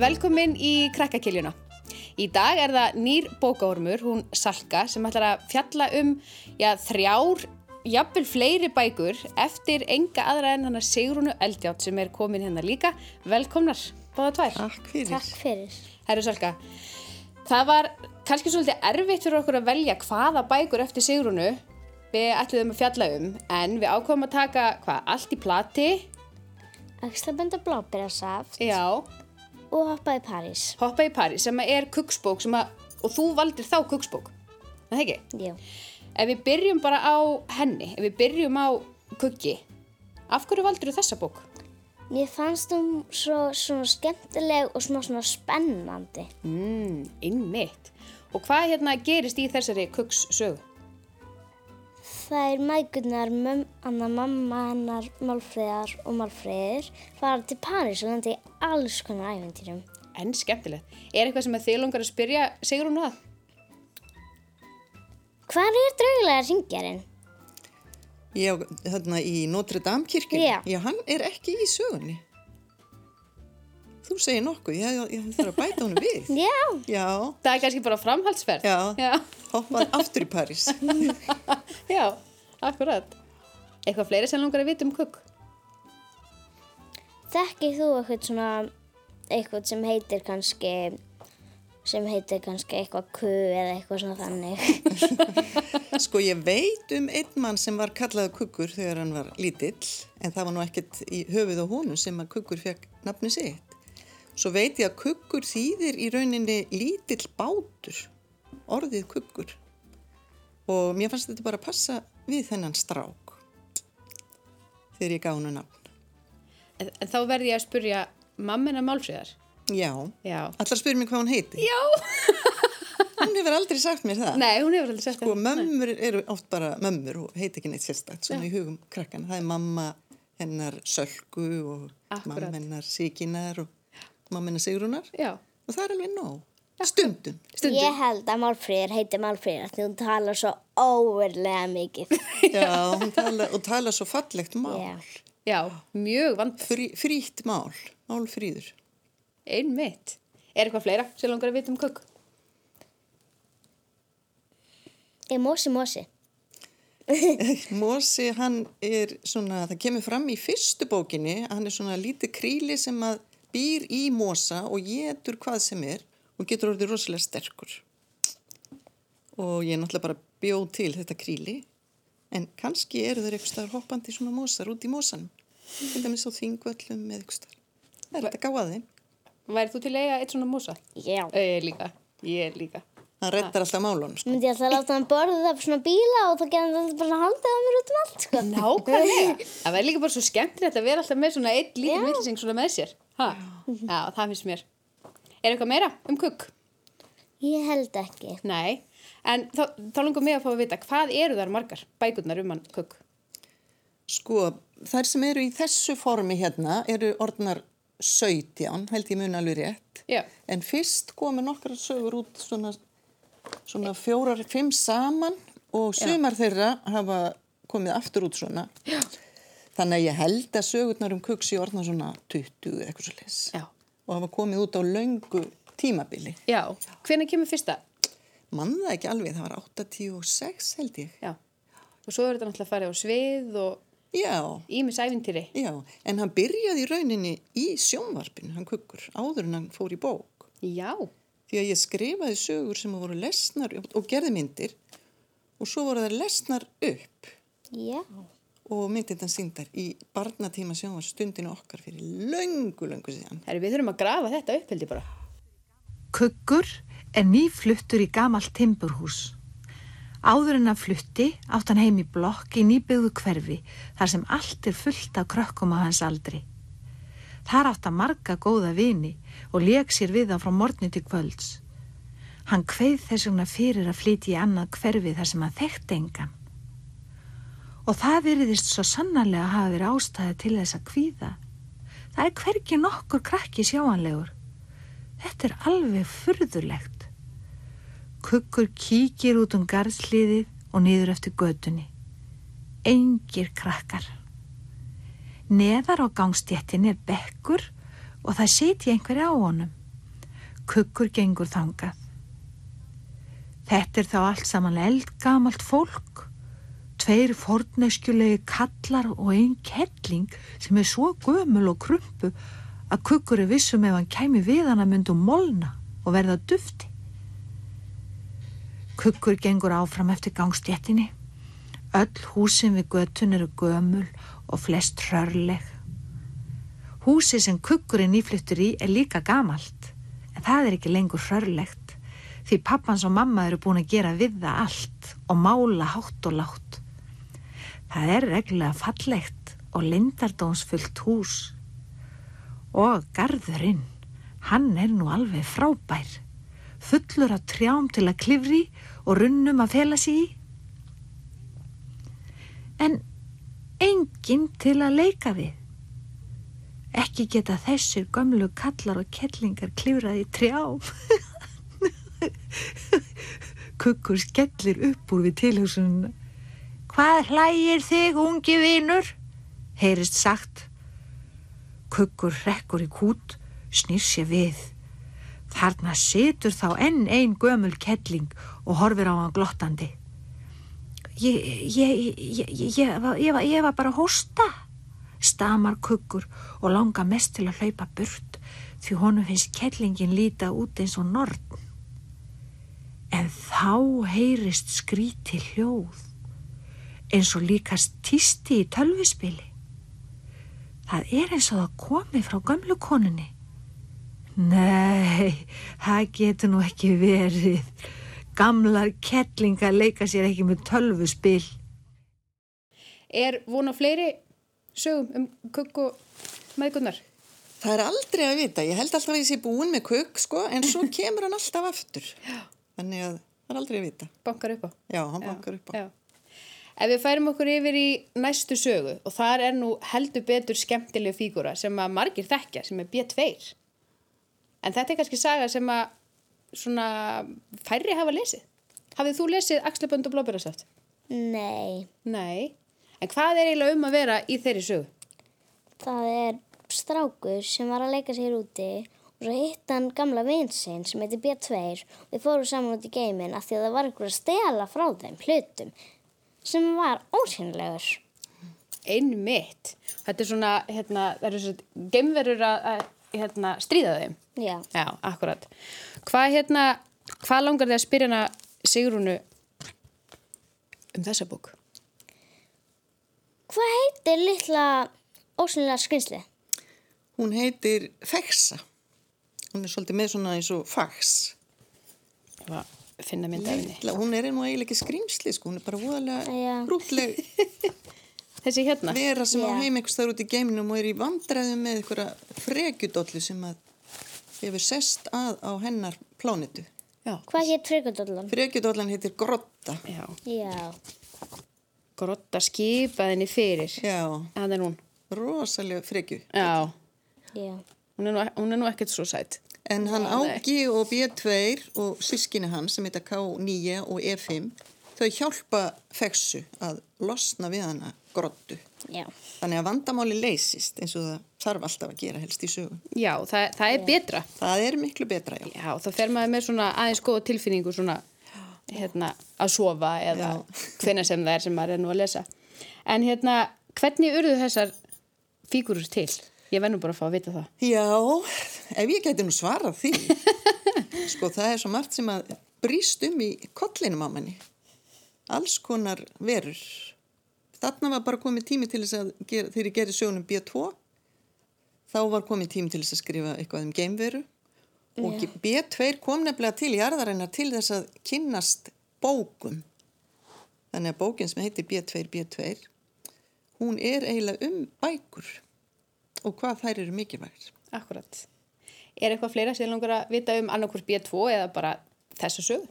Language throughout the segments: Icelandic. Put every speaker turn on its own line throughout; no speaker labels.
Velkomin í krakkakiljuna. Í dag er það nýr bókaormur, hún Salka, sem ætlar að fjalla um já, þrjár, jafnvel fleiri bækur eftir enga aðra en hana Sigrunu Eldjátt sem er komin hérna líka. Velkomnar, báða tvær.
Takk fyrir.
Takk fyrir.
Herru Salka, það var kannski svolítið erfitt fyrir okkur að velja hvaða bækur eftir Sigrunu við ætluðum að fjalla um, en við ákvæmum að taka hvað, allt í plati,
Axlabenda blábærasaft
já,
og hoppaði París.
Hoppa í París sem að er kuksbók sem að, og þú valdir þá kuksbók er það ekki?
Jú.
Ef við byrjum bara á henni ef við byrjum á kukki af hverju valdir þú þessa bók?
Mér fannst hún svo svona skemmtileg og smá svona spennandi.
Mm, innmitt og hvað hérna gerist í þessari kukssögu?
Það er mækunar, möm, annar mamma hennar, málfræðar og málfræðir fara til París og landi í alls konar æfintýrum.
En skemmtilegt. Er eitthvað sem að þið langar að spyrja Sigrun að?
Hvar er draugulega ringjarinn?
Ég á þarna í Notre Dame kirkjunni.
Já.
Já, hann er ekki í sögunni. Þú segir nokkuð, ég, ég, ég þarf að bæta honum við.
Já.
Já,
Það er kannski bara framhaldsverð.
já,
Já,
hoppað aftur í París.
já akkurat. Eitthvað fleiri sem langar að vita um kukk?
Þekkir þú eitthvað svona, eitthvað sem heitir kannski, sem heitir kannski eitthvað ku eða eitthvað svona þannig?
Sko, ég veit um einn mann sem var kallaði kukkur þegar hann var lítill, en það var nú ekkert í höfuð á honum sem að kukkur fekk nafni sitt. Svo veit ég að kukkur þýðir í rauninni lítill bátur, orðið kukkur. Og mér fannst þetta bara passa við þennan strák þegar ég gaf hann nafn.
En, en þá verði ég að spurja mammina málfríðar.
Já,
Já.
allar spyrir mér hvað hann heiti.
Já.
Hún hefur aldrei sagt mér það.
Nei, hún hefur aldrei sagt
Sko, mömmur eru oft bara mömmur og heit ekki neitt sérstakt, svona í hugum krakkan. Það er mamma hennar Sölku og
Akkúrat.
mamma hennar Siginar og mamma hennar Sigrunar.
Já,
Og það er alveg nóg. Stundum.
stundum.
Ég held að Málfríður heiti Málfríður því hún talar svo óverlega mikið.
Já, hún tala, og tala svo fallegt mál.
Já.
Já, mjög vand,
Frí, frítt mál. Málfríður.
einmitt. Er eitthvað fleira sem langar að vita um kukk?
Ég mósi mósi.
Mosi, hann er svona, það kemur fram í fyrstu bókinni að hann er svona lítið kríli sem að býr í mosa og getur hvað sem er og getur orðið rosalega sterkur. Og ég náttúrulega bara bjóð til þetta kríli, en kannski eru þeir eitthvað staðar hoppandi svona mosar út í mosanum. Til dæmis á þingvöllum eða eitthvað staðar. Það er þetta gáðið þeim.
Væri þú til að eiga eitt svona músa?
Já.
Ég líka, ég líka.
Hann reddar alltaf málunum, sko.
Myndi ég alltaf láta hann borða það svona bíla og þá getur hann alltaf bara haldið á mér út um allt, sko.
Nákvæmlega. Það væri líka bara svo skemmtilegt að vera alltaf með svona eitt lítið villising svona með sér. Ha? Já, það finnst mér. Er eitthvað meira um kukk?
Ég held ekki.
Nei. En þá, þá langar mig að fá að vita, hvað eru þar margar bækurnar um hann kukk?
Sko, þær sem eru í þessu formi hérna eru orðnar 17, held ég mun alveg rétt.
Já.
En fyrst komu nokkra sögur út svona, svona fjórar, fimm saman og sumar þeirra hafa komið aftur út svona. Já. Þannig að ég held að sögurnar um kuksi orðna svona 20 eitthvað svo leis.
Já.
Og hafa komið út á löngu tímabili.
Já. Hvenær kemur fyrsta?
Mann það ekki alveg, það var 86 held ég.
Já. Og svo er þetta náttúrulega að fara á svið og
Já.
ímis æfintýri.
Já, en hann byrjaði í rauninni í sjónvarpinu, hann kukkur, áður en hann fór í bók.
Já.
Því að ég skrifaði sögur sem voru lesnar og gerði myndir og svo voru þær lesnar upp
Já.
og myndir þann síndar í barnatíma sjónvarpstundinu okkar fyrir löngu, löngu síðan.
Herri, við þurfum að grafa þetta upp, held ég bara.
Kuggur er nýfluttur í gamalt timburhús. Áður en hann flutti átt hann heim í blokk í nýbyggðu hverfi þar sem allt er fullt af krökkum á hans aldri. Þar átt hann marga góða vini og leik sér við hann frá morgni til kvölds. Hann kveið þess vegna fyrir að flytja í annað hverfi þar sem hann þekkti engan. Og það veriðist svo sannarlega að hafa verið ástæði til þess að kvíða. Það er hvergi nokkur krakki sjáanlegur. Þetta er alveg furðulegt. Kukkur kíkir út um garðsliðið og niður eftir götunni. Engir krakkar. Neðar á gangstjettin er bekkur og það setja einhverja á honum. Kukkur gengur þangað. Þetta er þá allt saman eldgamalt fólk. Tveir forneskjulegi kallar og einn kettling sem er svo gömul og krumpu að kukkur er vissum ef hann kæmi við hana myndu molna og verða dufti. Kukkur gengur áfram eftir gangstjettinni. Öll húsin við götun eru gömul og flest hrörleg. Húsi sem kukkurinn ífluttur í er líka gamalt, en það er ekki lengur hrörlegt, því pappans og mamma eru búin að gera við það allt og mála hátt og látt. Það er reglulega fallegt og lindardónsfullt hús. Og garðurinn, hann er nú alveg frábær, fullur af trjám til að klifri og runnum að fela sig í. En enginn til að leika við. Ekki geta þessir gömlu kallar og kellingar klifrað í trjám. Kukkur skellir upp úr við tilhugsununa. Hvað hlægir þig, ungi vinur? heyrist sagt. Kukkur hrekkur í kút, snýr sér við. Þarna situr þá enn ein gömul kelling og horfir á hann glottandi. Ég, ég, ég, ég, ég, var- ég, var, ég var bara að hósta, stamar kukkur og langar mest til að hlaupa burt því honum finnst kellingin líta út eins og norn. En þá heyrist skríti hljóð, eins og líkast tísti í tölvispili. Það er eins og það komi frá gömlu konunni. Nei, það getur nú ekki verið. Gamlar kettlingar leika sér ekki með tölvuspil.
Er vona fleiri sögum um kukk og maðgunar?
Það er aldrei að vita. Ég held alltaf að ég sé búin með kukk, sko, en svo kemur hann alltaf aftur. Þannig að það er aldrei að vita.
Bankar upp á.
Já, hann bankar upp á.
Já. Ef við færum okkur yfir í næstu sögu og þar er nú heldur betur skemmtileg fígúra sem að margir þekkja sem er B2 en þetta er kannski saga sem að svona færri hafa lesið. Hafið þú lesið Axlebönd og Blóberasaft?
Nei,
Nei. En hvað er eiginlega um að vera í þeirri sögu?
það er strákur sem var að leika sér úti og svo hitt hann gamla vinsinn sem heitir B2 og við fórum saman út í geiminn af því að það var einhver að stela frá þeim hlutum sem var ósynlegur.
Einmitt. Þetta er svona, hérna, það eru svona geimverur að, að hérna, stríða þeim.
Já,
Já, akkurat. Hvað hérna, hvað langar þið að spyrja hana Sigrúnu um þessa bók?
hvað heitir litla ósynlega skynslið?
Hún heitir Fexa. Hún er svolítið með svona eins og fax.
Ég var að finna mynd af henni.
Lilla, Hún er nú eiginlega ekki skrýmsli, sko. Hún er bara voðalega
Já.
brúkleg
Þessi hérna,
vera sem á
Já.
heim einhvers þar út í geiminum og er í vandræðum með einhverja frekjudollu sem að hefur sest að á hennar plánitu.
já,
Hvað hétt frikundallan?
Frekjudollan heitir Grotta.
já,
Já,
grotta skipaði henni fyrir.
Já,
Það er hún.
rosalega frekju.
Já,
já,
hún er nú, e- hún er nú ekkert svo sætt.
En hann Ági og B2 og sískinni hans sem heita K9 og E5, þau hjálpa feksu að losna við hana grottu.
já.
Þannig að vandamáli leysist eins og það þarf alltaf að gera helst í sögum.
Já, það, það er betra.
Það er miklu betra, já.
Já, þá fer maður með svona aðeins góða tilfinningu svona hérna, að sofa eða hvenna sem það er sem maður er nú að lesa. En hérna, hvernig urðu þessar fígurur til? Ég verð nú bara að fá að vita það.
Já, ef ég gæti nú svarað því. Sko, það er svo margt sem að brýst um í kollinum á manni. Alls konar verur. Þarna var bara komið tími til þess að gera, þegar ég gerði sögunum B2, þá var komið tími til þess að skrifa eitthvað um geimveru. Og B2 kom nefnilega til jarðarinnar til þess að kynnast bókum. Þannig að bókin sem heitir B2, B2, hún er eiginlega um bækur og hvað þær eru mikilvægt.
Akkurat. Er eitthvað fleira sem þið langar að vita um annarkur B2 eða bara þessa sögu?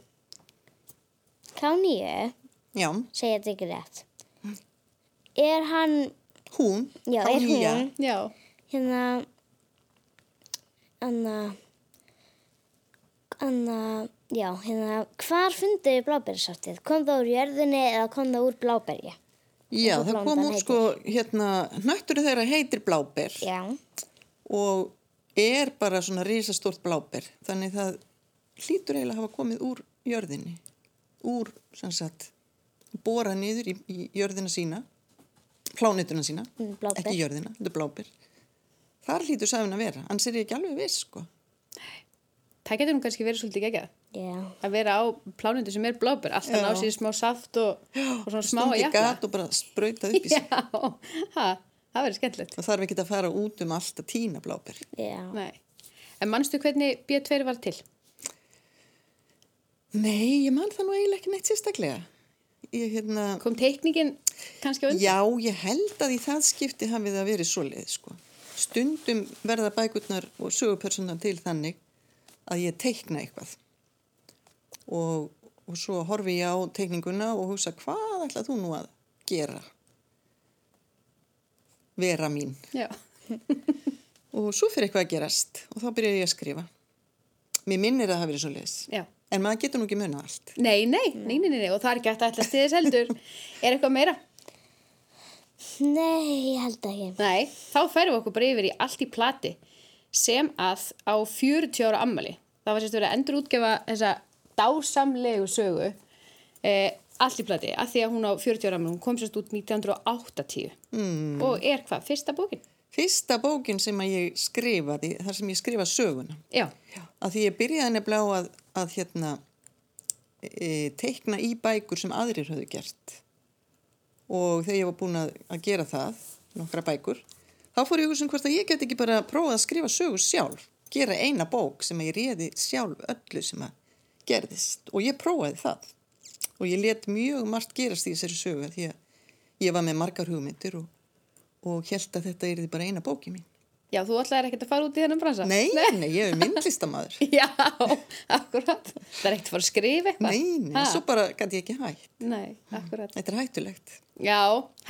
K9
Já,
segja þetta ekki rétt. Er hann,
hún,
já, er
Kánýja,
hún,
Já.
hérna, anna, anna, já, hérna, hvar funduðu bláberjasáttið? Kom það úr jörðinni eða kom það úr bláberja? eins
Já,
og
það
blondan
kom út
heitir.
sko, hérna, hnöttur þeirra heitir bláber
Já,
og er bara svona risastórt bláber þannig það hlýtur eiginlega að hafa komið úr jörðinni úr, sem sagt bóra niður í, í jörðina sína plánituna sína
Mm, bláber.
ekki jörðina, þetta er bláber þar hlýtur sæfin að vera, annars er ég ekki alveg viss sko.
Það getur nú kannski verið svolítið geggjað.
Já,
Að vera á plánundu sem er blóbur, alltaf ná
Já.
sér í smá saft og, og svona smá að
stundi
jakla.
gat og bara sprauta upp í sig
Já, ha, það verður skemmtilegt.
og þarf ekki að fara út um allt að tína bláber
já.
Nei. En mannstu hvernig B2 var til?
nei, ég man það nú eiginlega ekki neitt sérstaklega ég hérna
Kom teikningin kannski á undan?
Já, ég held að í það skipti hafið það verið svoleið sko. Stundum verða bækurnar og sögupersonar til þannig að ég teikna eitthvað og, og svo horfi ég á teikninguna og hugsa hvað ætlað þú nú að gera vera mín
Já.
og svo fyrir eitthvað að gerast og þá byrja ég að skrifa Mér minnir að það hafi verið svoleiðis
Já.
en maður getur nú ekki munna allt
Nei, nei, nei, nei, nei, nei, og það er ekki hægt að ætla stiðis heldur. er eitthvað meira?
Nei, ég held ekki.
Nei, þá færum við okkur bara yfir í allt í plati sem að á 40 ára ammali. Það var sérst verið að endur útgefa þessa dásamlegu sögu eh, allt í plati að því að hún á 40 ára ammali, hún kom sérst út 1980 mm. og er hvað, fyrsta bókin?
Fyrsta bókin sem að ég skrifaði þar sem ég skrifa söguna
Já,
að því ég byrjaði nefnilega á að, að hérna, e, teikna í bækur sem aðrir höfðu gert og þegar ég var búin að, að gera það, nokkra bækur þá fór ég hugsun hvort að ég get ekki bara prófað að skrifa sögur sjálf gera eina bók sem að ég réði sjálf öllu sem að gerðist og ég prófaði það og ég let mjög margt gerast í þessari sögu af því að ég var með margar hugmyndir og, og held að þetta er bara eina bóki mín
já þú ætlaðir ekkert að fara út í þennan bransa?
Nei, nei, ég er myndlistamæður
Já, akkurat. Það er ekkert að fara að skrifa eitthvað.
Nei, nei,
Ha?
svo bara gæti ég ekki hægt.
Nei, akkurat.
Þetta er hættulegt.
Já,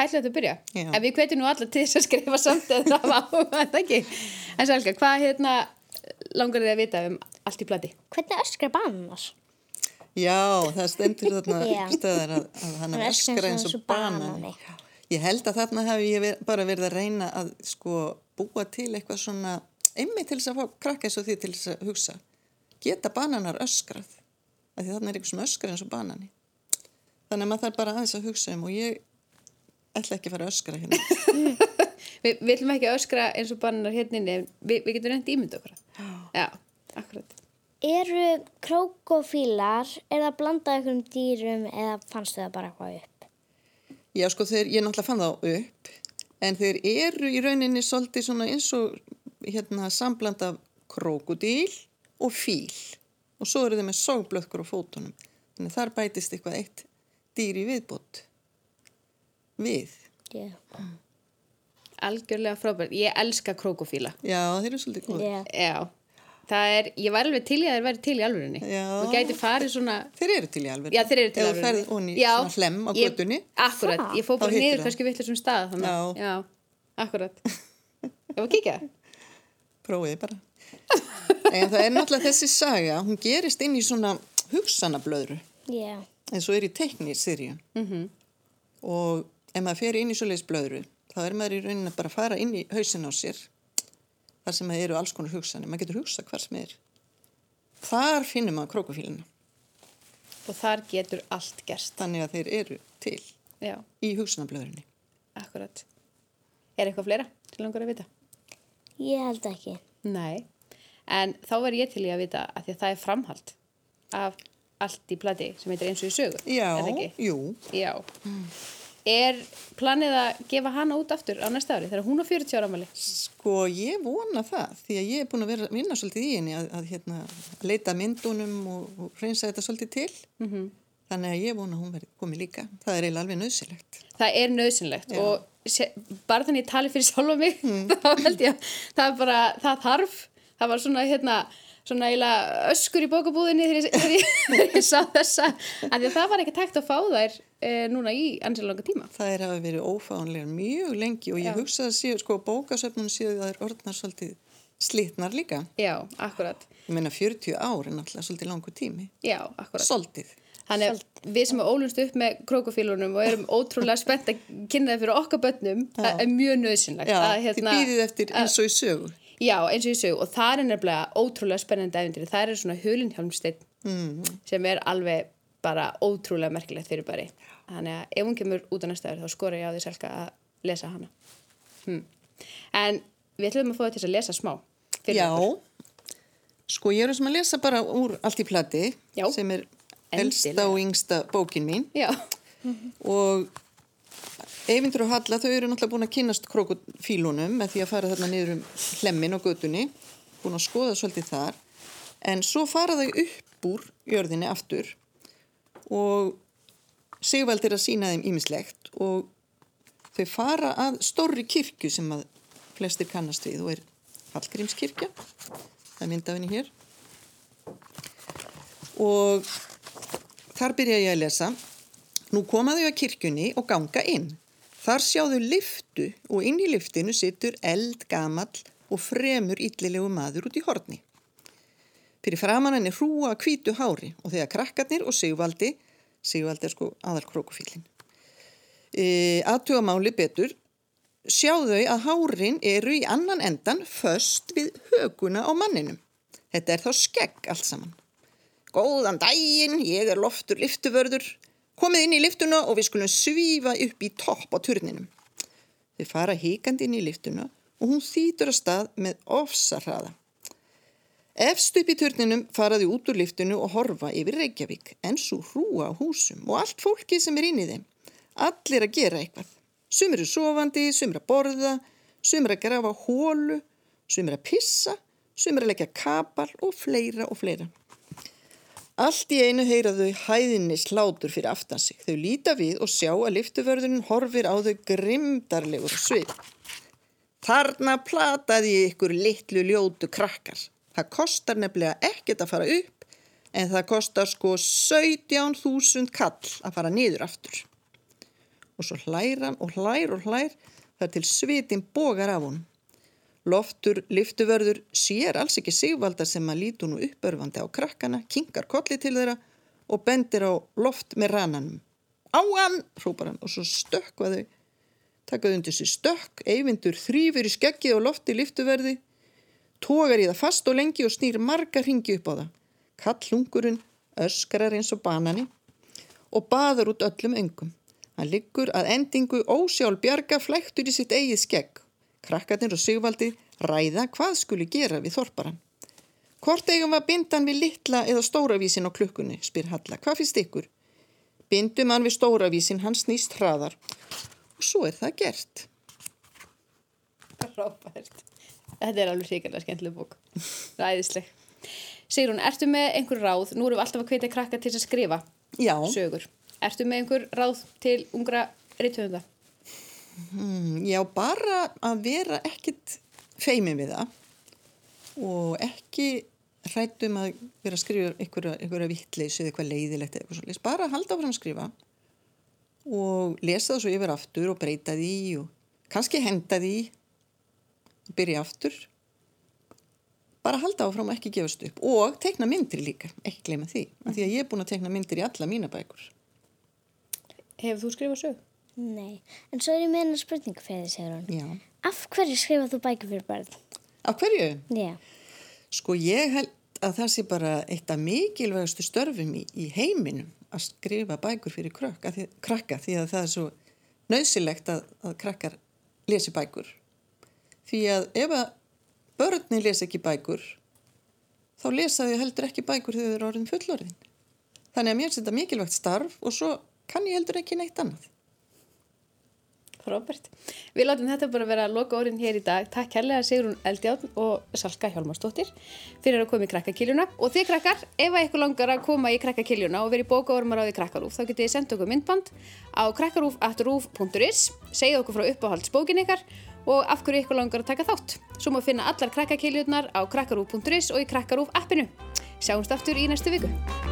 hættilegt að byrja.
Já.
En við hvetjum nú alla til þess að skrifa samt eða það var áhuga, þetta ekki. En Selga, hvað hérna langar þið að vita um allt í plati?
Hvernig öskra bann annars?
Já, það stendur þarna
Já.
ykkur stöðar að, að hann
Hann öskrar
öskra eins og banani. Ég held að þarna hef ég ver- bara verið að reyna að sko búa til eitthvað svona einmi til þess að fá krakka eins og því til þess að hugsa. Geta bananar öskrað? Af því þarna er ykkur sem öskra eins og banani. Þannig að maður þarf bara aðeins að hugsa um og ég ætla ekki að fara að öskra hérna.
Vi, við ætlum ekki að öskra eins og bannar hérna inni, en við, við getum reyndi ímynda okkur. Já. Já, akkurat.
Eru krókofílar, er það blandað ykkur um dýrum eða fannstu það bara eitthvað upp?
Já, sko, þeir, ég náttúrulega fann þá upp, en þeir eru í rauninni svolítið svona eins og hérna sambland af krókudíl og fíl og svo eru þeir með sóblökkur á fótunum. Þannig að þar bætist eitthvað eitt dýr í viðbót. Við.
Já.
Algjörlega frábært. Ég elska krókofíla.
Já, þeir eru svolítið góð.
Já.
Já. Það er, ég var alveg til í að þeir væri til í alvörinni.
Já.
Þú gæti farið svona...
Þeir eru til í alveg.
Já, þeir eru til í
Ef þú ferð onni í
Já,
svona hlem á
ég-
göttunni.
Akkurat, ég fó
Þá
bara
hittir
niður
það.
kannski vittlur sem stað. þannig.
Já.
Já, akkurat. Ef að kíkja?
prófiði bara en það er náttúrulega þessi saga hún gerist inn í svona hugsanablöðru
Já.
eins og er í teiknisýrju
Mhm.
og ef maður fer inn í svoleiðis blöðru þá er maður í rauninni bara að fara inn í hausin á sér þar sem eru alls konar hugsanir maður getur hugsað hvað sem er þar finnum maður krókufílina
Og þar getur allt gerst.
þannig að þeir eru til
Já,
í hugsanablöðrunni
akkurat. Er eitthvað fleira sem langar að vita?
Ég held ekki.
Nei. En þá verð ég til í að vita að því að það er framhald af allt í plati sem heitir eins og í sögu.
já,
Er það ekki?
jú,
Já. Er planið að gefa hana út aftur á næsta ári þegar hún á 40 ára amali?
Sko, ég vona það, því að ég er búin að vera, vinna svolítið í henni að, að hérna, leita að myndunum og, og reynsa þetta svolítið til.
Mhm.
-hmm. Þannig að ég vona að hún verði komið líka. Það er eiginlega alveg nöðsilegt.
það er nöðsynlegt og sé, bara þannig ég tali fyrir sjálfa mig
Hmm.
þá held ég að það er bara það þarf, það var svona hérna svona eiginlega öskur í bókabúðinni þegar ég, þegar ég, þegar ég sá þessa af því að það var ekki tækt að fá þær e, núna í ansið langa tíma
Það er að verið ófánlega mjög lengi og ég hugsa að séu, sko, bókasöfnun séu að það er orðnar svolítið slitnar líka.
já, akkurat,
Ég meina 40 ár er náttúrulega svolítið langur tími.
já, akkurat
Svolítið.
Þannig að við sem ólumst upp með krókofílunum og erum ótrúlega spennt að hérna, kynna það fyrir okkar börnum, það er mjög nöðsynlegt
Já,
að
því býðið eftir eins og í sögu.
Já, eins og ég sög og það er nefnilega ótrúlega spennandi æfindri. Það er svona hulinhjálmsteinn
Mm.
sem er alveg bara ótrúlega merkilegt fyrir bari. Þannig að ef hún kemur út á næsta ári þá skora ég á því selga að lesa hana. Hm. En við ætlum að fá þetta til að lesa smá. fyrir
Já,
okkur.
sko ég er sem að lesa bara úr allt í plati
Já.
sem er
Endilega.
elsta og yngsta bókin mín
Já,
og Eyvindur og Halla þau eru náttúrulega búin að kynast krokodílunum með því að fara þarna niður um hlemmin og götunni, búin að skoða svolítið þar en svo fara þau upp úr jörðinni aftur og Sigvald er að sína þeim ímislegt og þau fara að stórri kirkju sem að flestir kannast við og er Hallgrímskirkja það er mynd af henni hér og Þar byrja ég að lesa. Nú komaðu að kirkjunni og ganga inn. Þar sjáðu lyftu og inn í lyftinu situr eld, gamall og fremur illilegu maður út í horni. Fyrir framan henni hrúa að hvítu hári og þegar krakkarnir og Sigvaldi, Sigvaldi er sko aðal krókufílin, e, aðtuga máli betur, sjáðu að hárin eru í annan endan föst við höguna á manninum. Þetta er þá skegg allt saman. Góðan daginn, ég er loftur liftuvörður. Komið inn í liftuna og við skulum svífa upp í topp á turninum. Þau fara híkandi inn í liftuna og hún þýtur að stað með ofsarraða. Efst upp í turninum faraði út úr liftinu og horfa yfir Reykjavík, en svo hrúa á húsum og allt fólki sem er inn í þeim. Allir að gera eitthvað. Sum eru sofandi, sum eru að borða, sum eru að grafa hólu, sum eru að pissa, sum eru að leggja kapar og fleira og fleira. Allt í einu heyra þau hæðinni slátur fyrir aftan sig. Þau líta við og sjá að liftuvörðurinn horfir á þau grimdarlegur á svip. Þarna plataði ég ykkur litlu ljótu krakkar. Það kostar nefnilega ekkert að fara upp en það kostar sko 17.000 kall að fara niður aftur. Og svo hlær hann og hlær og hlær þar til svitin bogar af hún. Loftur, liftuvörður, sér alls ekki sigvalda sem að lítu nú uppörfandi á krakkana, kinkar kolli til þeirra og bendir á loft með rannanum. Á hann, hrópar hann og svo stökkva þau. Takaðu undir sér stökk, eyvindur þrýfur í skeggið og lofti liftuvörði, tógar í það fast og lengi og snýr marga ringi upp á það. Kallungurinn öskrar eins og banani og baðar út öllum öngum. Hann liggur að endingu ósjálf bjarga flektur í sitt eigið skegg. Krakkarnir og Sigvaldi ræða hvað skuli gera við þorparan. Hvort eigum við að binda hann við litla eða stóravísin á klukkunni, spyr Halla. Hvað finnst ykkur? Bindum hann við stóravísin, hann snýst hraðar. Og svo er það gert.
Robert. Þetta er alveg hrikalega skemmtileg bók. Ræðisleg. Sigrún, ertu með einhver ráð? Nú erum við alltaf að hvetja krakka til þess að skrifa
Já,
sögur. Ertu með einhver ráð til ungra rithöfunda?
já, bara að vera ekkit feimin við það og ekki hrættum að vera að skrifa einhverja, einhverja vittleysu eða eitthvað leiðilegt eða eitthvað svolítið. Bara að halda áfram að skrifa og lesa það svo yfir aftur og breyta því og kannski henda því og byrja aftur. Bara halda áfram og ekki gefast upp og tekna myndir líka, ekki gleyma því. Af því að ég er búin að tekna myndir í alla mína bækur.
Hefur þú skrifað sög?
Nei, en svo er ég með hennar spurningu fyrir því, segir hún.
Já.
Af hverju skrifað þú bækur fyrir barn?
Af hverju?
Já,
Sko ég held að það sé bara eitt af mikilvægastu störfum í, í heiminum að skrifa bækur fyrir krakka því, krakka, því að það er svo nöðsilegt að, að krakkar lesi bækur. Því að ef að börnin lesi ekki bækur, þá lesa þau heldur ekki bækur þegar þau eru orðin fullorðin. Þannig að mér setja mikilvægt starf og svo kann ég heldur ekki neitt annað.
Robert. Við látum þetta bara vera loka orðin hér í dag. Takk kærlega Sigrún Eldjárn og Salka Hjálmarsdóttir fyrir að koma í krakkakiljuna. Og þið krakkar, ef að ykkur langar að koma í krakkakiljuna og verið bókaormar á því krakkarúf, þá getið þið senda okkur myndband á krakkarúf.rúf.is, segja okkur frá uppáhaldsbókin ykkar og af hverju ykkur langar að taka þátt. Svo má finna allar krakkakiljunar á krakkarúf.is og í krakkarúf appinu. Sjáumst aftur í næstu viku.